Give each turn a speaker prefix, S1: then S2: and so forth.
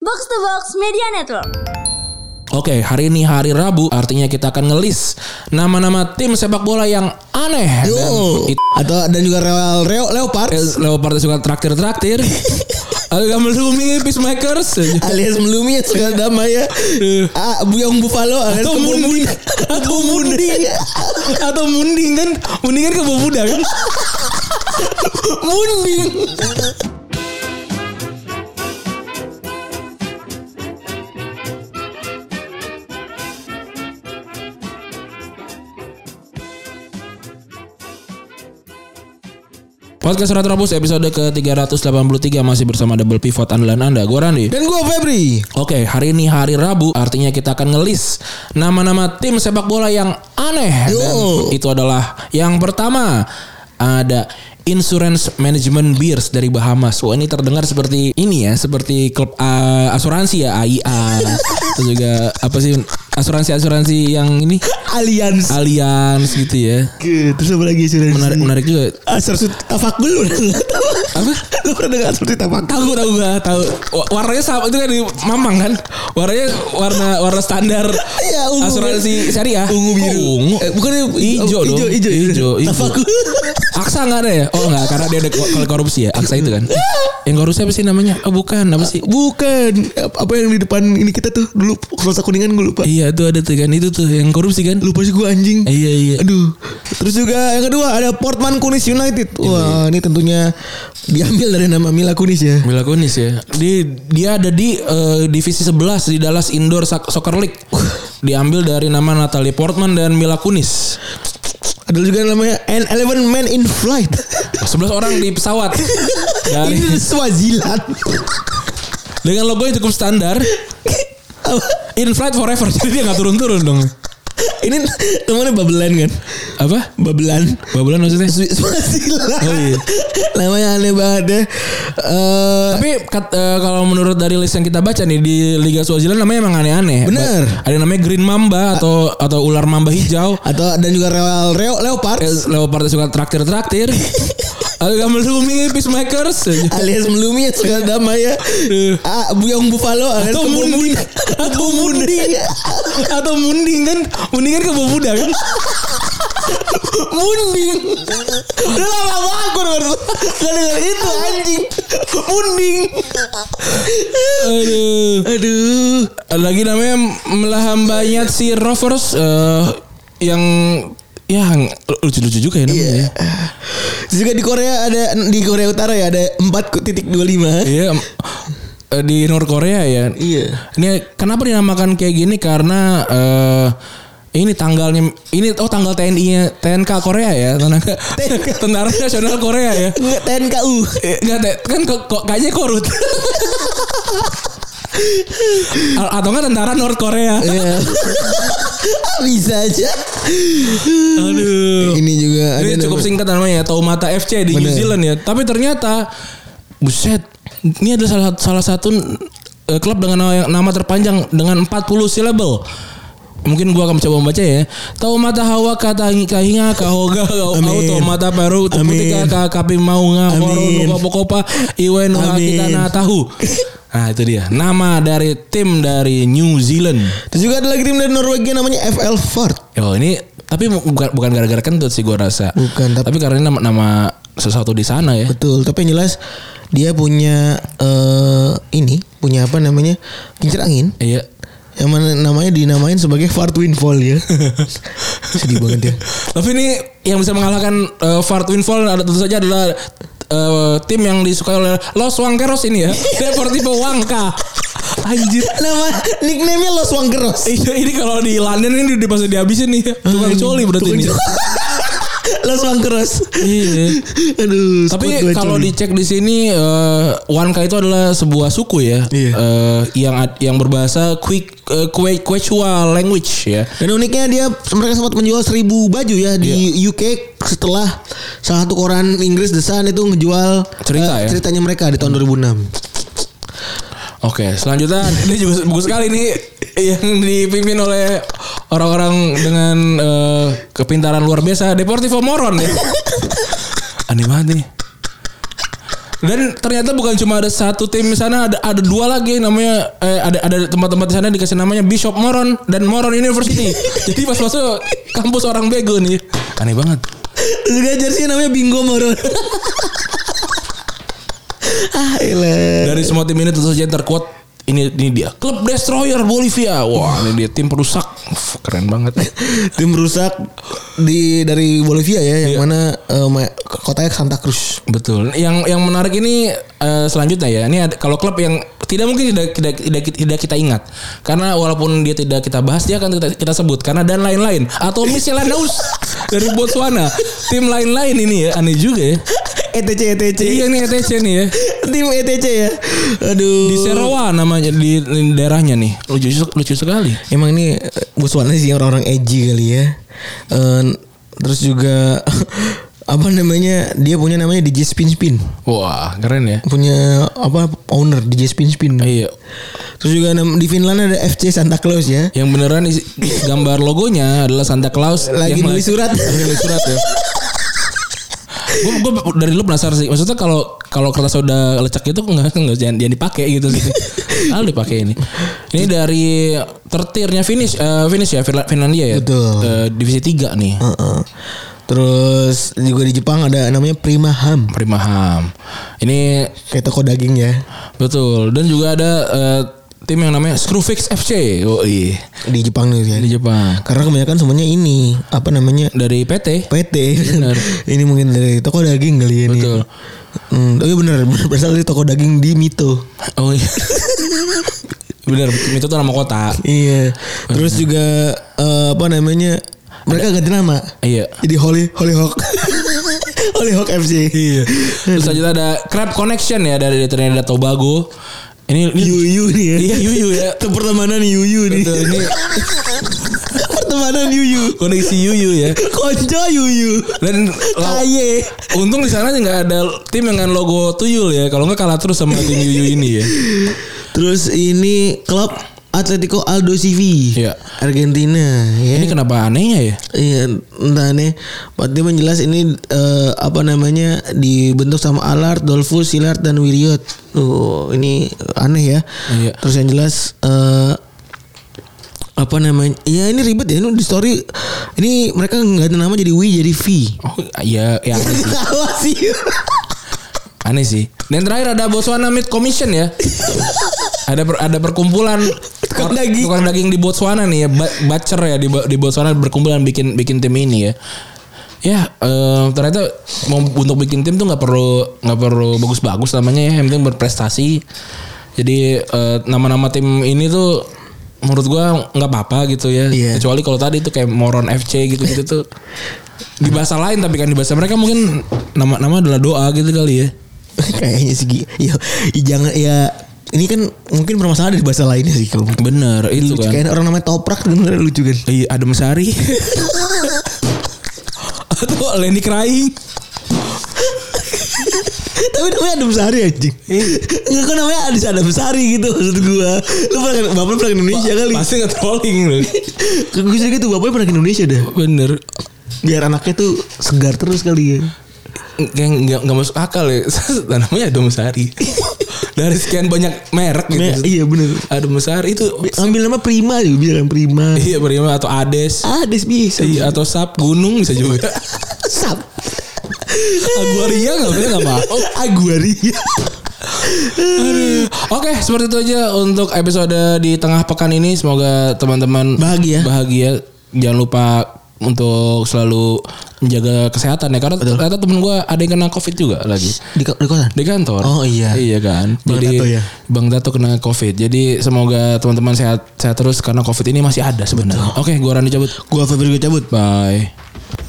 S1: Box to Box Media Network.
S2: Oke, hari ini hari Rabu, artinya kita akan ngelis nama-nama tim sepak bola yang aneh.
S3: Yo.
S2: Dan itu
S3: Atau dan juga Real Reo Leopard
S2: Leopard yang suka traktir-traktir. Agak melumi Peacemakers.
S3: alias Melumi yang suka damai ya. Ah, Buyong Buffalo alias
S2: Atau Munding.
S3: kebun budak.
S2: Atau Munding. Atau Munding kan. Munding kan kebo Buddha kan.
S3: Munding.
S2: Podcast Retrobus episode ke-383 masih bersama double pivot andalan Anda. Gue Randi.
S3: Dan gua Febri.
S2: Oke, hari ini hari Rabu, artinya kita akan ngelis nama-nama tim sepak bola yang aneh. Dan
S3: Yo.
S2: itu adalah yang pertama ada Insurance Management Beers dari Bahamas. Wah, ini terdengar seperti ini ya, seperti klub uh, asuransi ya, AIA. Terus juga apa sih asuransi-asuransi yang ini
S3: Allianz.
S2: Allianz gitu ya.
S3: Oke, terus apa lagi sudah
S2: Menarik menarik juga.
S3: Asar sut tafak belum.
S2: Apa?
S3: Lu pernah dengar seperti tafak?
S2: Tahu tahu gua tahu. Wa- Warnanya sama itu kan di Mamang kan. Warnanya warna warna standar
S3: Iya, ungu.
S2: asuransi syariah.
S3: Ungu biru.
S2: Oh, ungu.
S3: Eh, bukan
S2: Ijo dong.
S3: Ijo ijo.
S2: Ijo, ijo.
S3: Tafakul.
S2: Aksa enggak ada ya? Oh enggak, karena dia ada ko- kalau korupsi ya. Aksa itu kan. Yang korupsi apa sih namanya? Oh bukan, apa sih?
S3: Bukan apa yang di depan ini kita tuh dulu kosa kuningan gue lupa.
S2: Iya, itu ada tuh kan. Itu tuh yang korupsi kan.
S3: Lupa sih gue anjing.
S2: Iya, iya.
S3: Aduh. Terus juga yang kedua ada Portman Kunis United. Wah, ini tentunya diambil dari nama Mila Kunis ya.
S2: Mila Kunis ya. Dia dia ada di eh, divisi 11 di Dallas Indoor Soc- Soccer League. Diambil dari nama Natalie Portman dan Mila Kunis.
S3: Ada juga namanya An Eleven Man in Flight.
S2: 11 orang di pesawat. Dari
S3: ini dari Swaziland.
S2: dengan logo yang cukup standar. In flight forever. Jadi dia nggak turun-turun dong.
S3: ini namanya Babelan kan?
S2: Apa?
S3: Babelan.
S2: Babelan maksudnya?
S3: Swi- eh, Swaziland.
S2: Oh, iya.
S3: namanya aneh banget ya. Eh,
S2: Tapi kat- eh, kalau menurut dari list yang kita baca nih di Liga Swaziland namanya emang aneh-aneh.
S3: Bener.
S2: Ba- Ada yang namanya Green Mamba atau atau ular mamba hijau.
S3: atau dan juga Real Reo Leopard
S2: Eh, Leopard yang suka traktir-traktir. Ada gambar Lumi, Peacemakers.
S3: alias Melumi yang suka damai ya. Ah, Buyong Buffalo
S2: Iya.
S3: alias
S2: Atau
S3: kebun
S2: Munding.
S3: budak.
S2: Atau Munding. Atau Munding kan. Munding kan kebo Buddha kan.
S3: Munding. Udah lama banget gue denger Gak denger itu anjing. Munding.
S2: Aduh.
S3: Aduh.
S2: Ada lagi namanya melahambanya si Rovers eh, yang yang lucu-lucu juga ya
S3: Iya.
S2: namanya. ya.
S3: Terus Juga di Korea ada di Korea Utara ya ada 4.25.
S2: Iya. em, eh, di North Korea ya.
S3: Iya.
S2: Ini kenapa dinamakan kayak gini karena eh ini tanggalnya ini oh tanggal TNI-nya TNK Korea ya, tenaga Tentara Nasional Korea ya.
S3: Enggak TNKU.
S2: Enggak Teh. kan kok kok- kayaknya korut. A- Atau kan tentara North Korea.
S3: Iya. Ah, Bisa aja.
S2: Aduh.
S3: Ini juga ada
S2: Ini cukup
S3: nama-
S2: singkat namanya ya, Taumata FC di New
S3: iya, Bener.
S2: Zealand ya. Tapi ternyata buset, ini adalah salah satu, salah satu eh, klub dengan nama, nama terpanjang dengan 40 syllable. Mungkin gua akan mencoba membaca ya. Taumata Hawa kata kahinga kahoga
S3: Amin.
S2: auto mata paru
S3: Amin.
S2: teputika ka kapi maunga
S3: Amin.
S2: horo kopa iwen wa
S3: Amin.
S2: kita na tahu. Nah itu dia Nama dari tim dari New Zealand
S3: Terus juga ada lagi tim dari Norwegia namanya FL Ford.
S2: Oh ini tapi mu- bukan bukan gara-gara kentut sih gua rasa.
S3: Bukan,
S2: tapi,
S3: tapi-
S2: karena ini nama, nama sesuatu di sana ya.
S3: Betul, tapi yang jelas dia punya eh ini, punya apa namanya? Kincir angin.
S2: Iya.
S3: Yang mana namanya dinamain sebagai Fart Windfall ya. Sedih banget ya.
S2: Tapi ini yang bisa mengalahkan eh, Fart Windfall ada tentu saja adalah eh, tim yang disukai oleh Los Wangkeros ini ya. Deportivo Wangka. Anjir.
S3: Nama nickname-nya Los Wangkeros.
S2: Ini, ini kalau di London ini udah pasti dihabisin nih. ya. Tukang coli berarti ini.
S3: Los Wangkeros.
S2: Iya.
S3: Aduh, squad
S2: Tapi
S3: gua
S2: kalau
S3: coli.
S2: dicek di sini eh, Wanka itu adalah sebuah suku ya
S3: Iya.
S2: Eh, yang ad- yang berbahasa Quick eh, Kwe- Quechua language ya.
S3: dan uniknya dia mereka sempat menjual 1000 baju ya di
S2: Iya.
S3: UK setelah salah satu koran Inggris The Sun itu ngejual
S2: Cerita
S3: eh,
S2: ya?
S3: ceritanya mereka di tahun 2006.
S2: Oke, selanjutnya ini juga bagus sekali nih yang dipimpin oleh orang-orang dengan eh, kepintaran luar biasa Deportivo Moron ya. Aneh banget nih. Dan ternyata bukan cuma ada satu tim di sana, ada ada dua lagi namanya eh, ada ada tempat-tempat di sana dikasih namanya Bishop Moron dan Moron University. Jadi pas masuk kampus orang bego nih. Aneh banget.
S3: Juga jersey namanya Bingo Moron. ah, elah.
S2: Dari semua tim ini tentu saja yang terkuat ini ini dia klub destroyer Bolivia wah ini dia tim perusak Uf, keren banget
S3: Tim rusak di dari Bolivia ya,
S2: Iya.
S3: yang mana eh, ma- kotanya Santa Cruz.
S2: betul yang yang menarik ini eh, selanjutnya ya ini ada, kalau klub yang tidak mungkin tidak tidak tidak tidak kita ingat karena walaupun dia tidak kita bahas dia akan kita, kita sebut karena dan lain-lain atau Michelanaus dari Botswana tim lain-lain ini ya aneh juga ya
S3: ETC ETC.
S2: iya nih ETC nih ya
S3: Tim ETC ya. Aduh.
S2: di Serawa namanya di, di daerahnya nih lucu lucu sekali
S3: Emang ini eh, Botswana sih orang-orang edgy kali ya. Eh, terus juga apa namanya? Dia punya namanya DJ Spin Spin.
S2: wah keren ya
S3: Punya apa owner DJ Spin Spin.
S2: iya
S3: Terus juga nam- di Finland ada FC Santa Claus ya.
S2: Yang beneran isi- gambar logonya adalah Santa Claus
S3: Lagi
S2: yang
S3: nulis surat.
S2: Lagi nulis surat ya. Gue dari lu penasaran sih. Maksudnya kalau kalau kertas soda lecek itu enggak enggak jangan jangan dipakai gitu sih. Lalu dipakai ini. Ini dari tertirnya finish eh finish ya Finla- Finlandia ya.
S3: Betul.
S2: Eh, divisi 3 nih.
S3: Heeh. Terus juga di Jepang ada namanya Prima Ham.
S2: Primaham. Ini
S3: Kayak toko daging ya.
S2: betul dan juga ada eh, tim yang namanya Screwfix FC. Oh iya.
S3: Di Jepang nih ya.
S2: Di Jepang.
S3: Karena kebanyakan semuanya ini apa namanya?
S2: Dari PT
S3: PT.
S2: Bener.
S3: ini mungkin dari toko daging kali ya ini.
S2: Betul.
S3: Hmm, oh iya bener, bener berasal dari toko daging di Mito.
S2: Oh iya. Bener, itu tuh nama kota.
S3: Iya. Terus juga eh, apa namanya? Mereka ganti nama.
S2: Iya.
S3: Jadi Holy Holy Hawk. Holy Hawk FC. Iya.
S2: Terus selanjutnya ada Crab Connection ya dari Trinidad Tobago. Ini ini
S3: Yuyu nih ya.
S2: Iya, Yuyu ya.
S3: Itu pertemanan Yuyu nih.
S2: Betul, ini
S3: pertemanan Yuyu.
S2: koneksi Yuyu ya.
S3: Konco Yuyu.
S2: Dan lau-
S3: Kaye.
S2: untung di sana nggak ada tim dengan logo tuyul ya. Kalau nggak kalah terus sama tim Yuyu ini ya.
S3: Terus ini klub Atletico Aldo CV.
S2: Iya.
S3: Argentina ya.
S2: Ini kenapa anehnya ya?
S3: Iya, entah nih. Pak Timan jelas ini eh, apa namanya dibentuk sama Alard, Dolphus, Silard dan Wiriot. Tuh, ini aneh ya.
S2: Iya.
S3: Terus yang jelas eh apa namanya? Iya, ini ribet ya. Ini di story ini mereka nggak ada nama jadi Wi jadi V.
S2: Oh iya, ya aneh sih.
S3: Apa sih?
S2: Aneh sih. Dan terakhir ada Botswana Meat Commission ya. ada per- ada perkumpulan
S3: Tukang
S2: or-
S3: daging.
S2: tukang daging di Botswana nih ya, ba- bacer ya di Bo- di Botswana berkumpulan bikin bikin tim ini ya. Ya, eh, ternyata mau untuk bikin tim tuh nggak perlu nggak perlu bagus-bagus namanya ya, yang penting berprestasi. Jadi eh, nama-nama tim ini tuh menurut gua nggak apa-apa gitu ya.
S3: Iya.
S2: Kecuali kalau tadi tuh kayak Moron FC gitu-gitu tuh di bahasa lain tapi kan di bahasa mereka mungkin nama-nama adalah doa gitu kali ya.
S3: Kayaknya sih Gi. ya, ya jangan ya ini kan mungkin permasalahan dari bahasa lainnya sih kalau
S2: Bener itu
S3: lucu
S2: kan.
S3: kayaknya orang namanya toprak dengar lucu kan
S2: Iya Adam Sari. Atau Lenny Crying.
S3: Tapi namanya Adam Sari anjing. Enggak kok namanya Adis Adam Sari gitu maksud gua. Lu pernah ke- bapak lu pernah ke Indonesia kali.
S2: Pasti nge-trolling lu.
S3: Gue sih gitu bapaknya pernah ke Indonesia dah.
S2: Bener.
S3: Biar anaknya tuh segar terus kali ya.
S2: Kayak nggak nggak masuk akal ya. Namanya Adam Sari. Dari sekian banyak merek
S3: Nah,
S2: gitu.
S3: iya bener.
S2: Adam Sari itu
S3: Ambil nama Prima juga bilang Prima.
S2: iya Prima atau Ades.
S3: Adis bisa.
S2: Iya, atau Sap Gunung bisa juga.
S3: Sap.
S2: Aguaria nggak bener nggak mau.
S3: Aguaria.
S2: Aduh. Oke, seperti itu aja untuk episode di tengah pekan ini. Semoga teman-teman
S3: Bahagia.
S2: Bahagia. Jangan lupa untuk selalu menjaga kesehatan ya karena ternyata temen gue ada yang kena covid juga lagi
S3: Di, ko- di kosan.
S2: di kantor.
S3: Oh, iya.
S2: Iya kan.
S3: Bang
S2: Jadi
S3: Dato ya?
S2: Bang Dato kena covid. Jadi semoga teman-teman sehat sehat terus karena covid ini masih ada sebenarnya. Oke, gua Rani cabut.
S3: Gua Febri gue cabut.
S2: Bye.